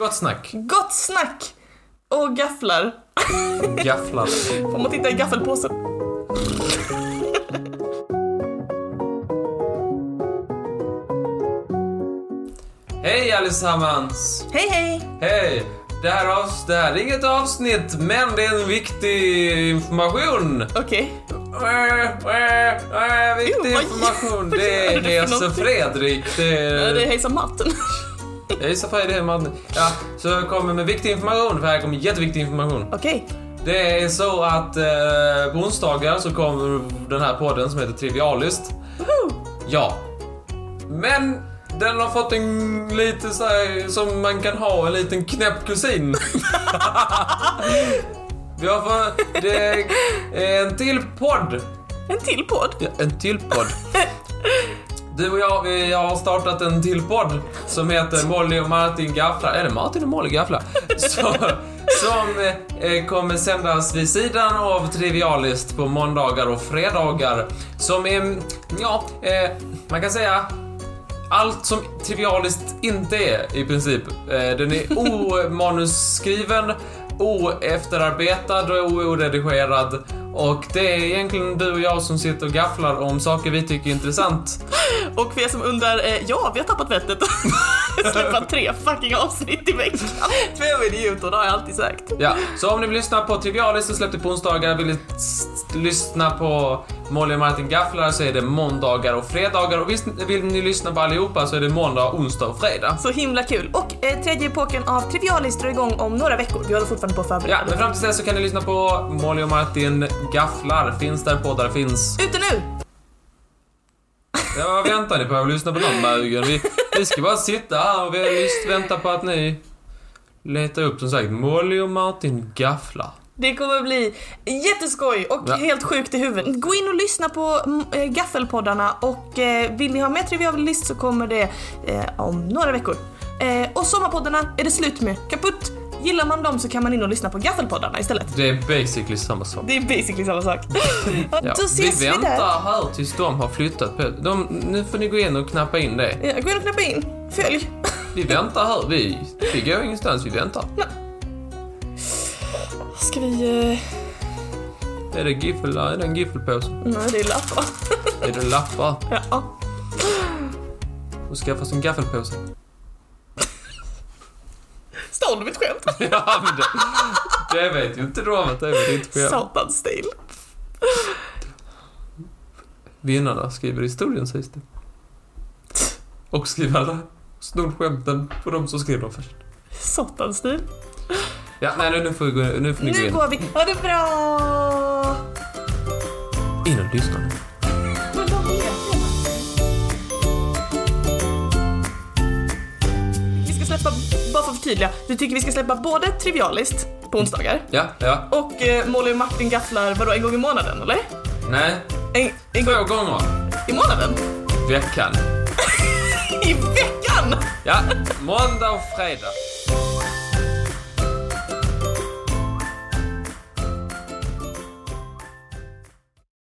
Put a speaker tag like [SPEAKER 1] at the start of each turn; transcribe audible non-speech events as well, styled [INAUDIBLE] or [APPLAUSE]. [SPEAKER 1] Gott snack.
[SPEAKER 2] Gott snack! Och gafflar.
[SPEAKER 1] Gafflar.
[SPEAKER 2] Får man titta i gaffelpåsen?
[SPEAKER 1] Hej allesammans!
[SPEAKER 2] Hej hej!
[SPEAKER 1] Hej! Det här, avs- det här är inget avsnitt, men det är en viktig information.
[SPEAKER 2] Okej.
[SPEAKER 1] Äh, äh, äh, Viktig
[SPEAKER 2] Jo, vad- [LAUGHS]
[SPEAKER 1] information.
[SPEAKER 2] vad
[SPEAKER 1] Det
[SPEAKER 2] gör
[SPEAKER 1] är
[SPEAKER 2] du för
[SPEAKER 1] Hesa
[SPEAKER 2] någonting?
[SPEAKER 1] Fredrik. Det
[SPEAKER 2] Okay. Det är
[SPEAKER 1] är
[SPEAKER 2] hejsan matten.
[SPEAKER 1] Hesa Fredrik, hej man. Ja, så jag kommer med viktig information, för här kommer jätteviktig information.
[SPEAKER 2] Okej.
[SPEAKER 1] Det är så att eh, på onsdagar så kommer den här podden som heter Trivialist. Ja. Men den har fått en lite så här, som man kan ha, en liten knäpp kusin. Vi har fått det är en till podd.
[SPEAKER 2] En till podd.
[SPEAKER 1] Ja, en till podd. Du och jag, vi har startat en till podd som heter Molly och Martin gafflar. Är det Martin och Molly gafflar? Så, som eh, kommer sändas vid sidan av Trivialist på måndagar och fredagar. Som är, ja, eh, man kan säga allt som Trivialist inte är i princip. Eh, den är omanusskriven, oefterarbetad och oredigerad. Och det är egentligen du och jag som sitter och gafflar om saker vi tycker är intressant.
[SPEAKER 2] Och för er som undrar, eh, ja vi har tappat vettet. [LAUGHS] Släppa tre fucking avsnitt i veckan. Två idioter, det har jag alltid sagt.
[SPEAKER 1] Ja, så om ni vill lyssna på Trivialist som släppte på onsdagar, vill ni s- lyssna på Molly och Martin gafflar så är det måndagar och fredagar. Och visst, vill ni lyssna på allihopa så är det måndag, onsdag och fredag.
[SPEAKER 2] Så himla kul. Och eh, tredje epoken av Trivialis drar igång om några veckor. Vi håller fortfarande på att
[SPEAKER 1] Ja,
[SPEAKER 2] förbereda.
[SPEAKER 1] men fram till dess så kan ni lyssna på Molly och Martin gafflar. Finns där poddar finns.
[SPEAKER 2] Ute nu!
[SPEAKER 1] Ja, vad väntar ni på? Jag vill lyssna på de mögen. Vi, vi ska bara sitta här och vi har lyst vänta på att ni letar upp som sagt Molly och Martin gafflar.
[SPEAKER 2] Det kommer bli jätteskoj och
[SPEAKER 1] Ja.
[SPEAKER 2] helt sjukt i huvudet. Gå in och lyssna på mm, eh, Gaffelpoddarna och eh, vill ni ha mer Trivialist så kommer det eh, om några veckor. Eh, och Sommarpoddarna är det slut med. Kaputt! Gillar man dem så kan man in och lyssna på Gaffelpoddarna istället.
[SPEAKER 1] Det är basically samma sak.
[SPEAKER 2] Det är basically samma sak. ja,
[SPEAKER 1] [LAUGHS] Ja,
[SPEAKER 2] då
[SPEAKER 1] vi
[SPEAKER 2] ses vi,
[SPEAKER 1] väntar
[SPEAKER 2] där.
[SPEAKER 1] här tills de har flyttat på... De, nu får ni gå in och knappa in det.
[SPEAKER 2] Ja, gå in och knappa in. Följ.
[SPEAKER 1] Vi väntar här. Vi, vi går ingenstans, vi väntar.
[SPEAKER 2] Ska vi... Eh,
[SPEAKER 1] Är det giffel? Är det en giffelpåse?
[SPEAKER 2] nej, det är lappar.
[SPEAKER 1] Är det lappar?
[SPEAKER 2] ja.
[SPEAKER 1] Och skaffas en gaffelpåse? [LAUGHS]
[SPEAKER 2] Stal du mitt skämt?
[SPEAKER 1] Ja, men det, det vet ju inte Robert. Det vet inte jag.
[SPEAKER 2] Satans stil.
[SPEAKER 1] Vinnarna skriver historien sägs det. Och skriver alla snorrskämten på de som skriver dem först.
[SPEAKER 2] Satans stil.
[SPEAKER 1] Ja, nej nu- nu får, vi gå, nu får ni
[SPEAKER 2] Nu
[SPEAKER 1] gå
[SPEAKER 2] går vi. Ha det bra!
[SPEAKER 1] in. In och lyssna nu.
[SPEAKER 2] Vi ska släppa, bara för att förtydliga, du tycker vi ska släppa både Trivialist på onsdagar
[SPEAKER 1] Ja, ja.
[SPEAKER 2] och eh, Molly och Martin gafflar vadå, en gång i månaden eller?
[SPEAKER 1] Nej.
[SPEAKER 2] En, en gång
[SPEAKER 1] Två gånger
[SPEAKER 2] i månaden?
[SPEAKER 1] veckan.
[SPEAKER 2] I veckan!
[SPEAKER 1] Ja, måndag och fredag.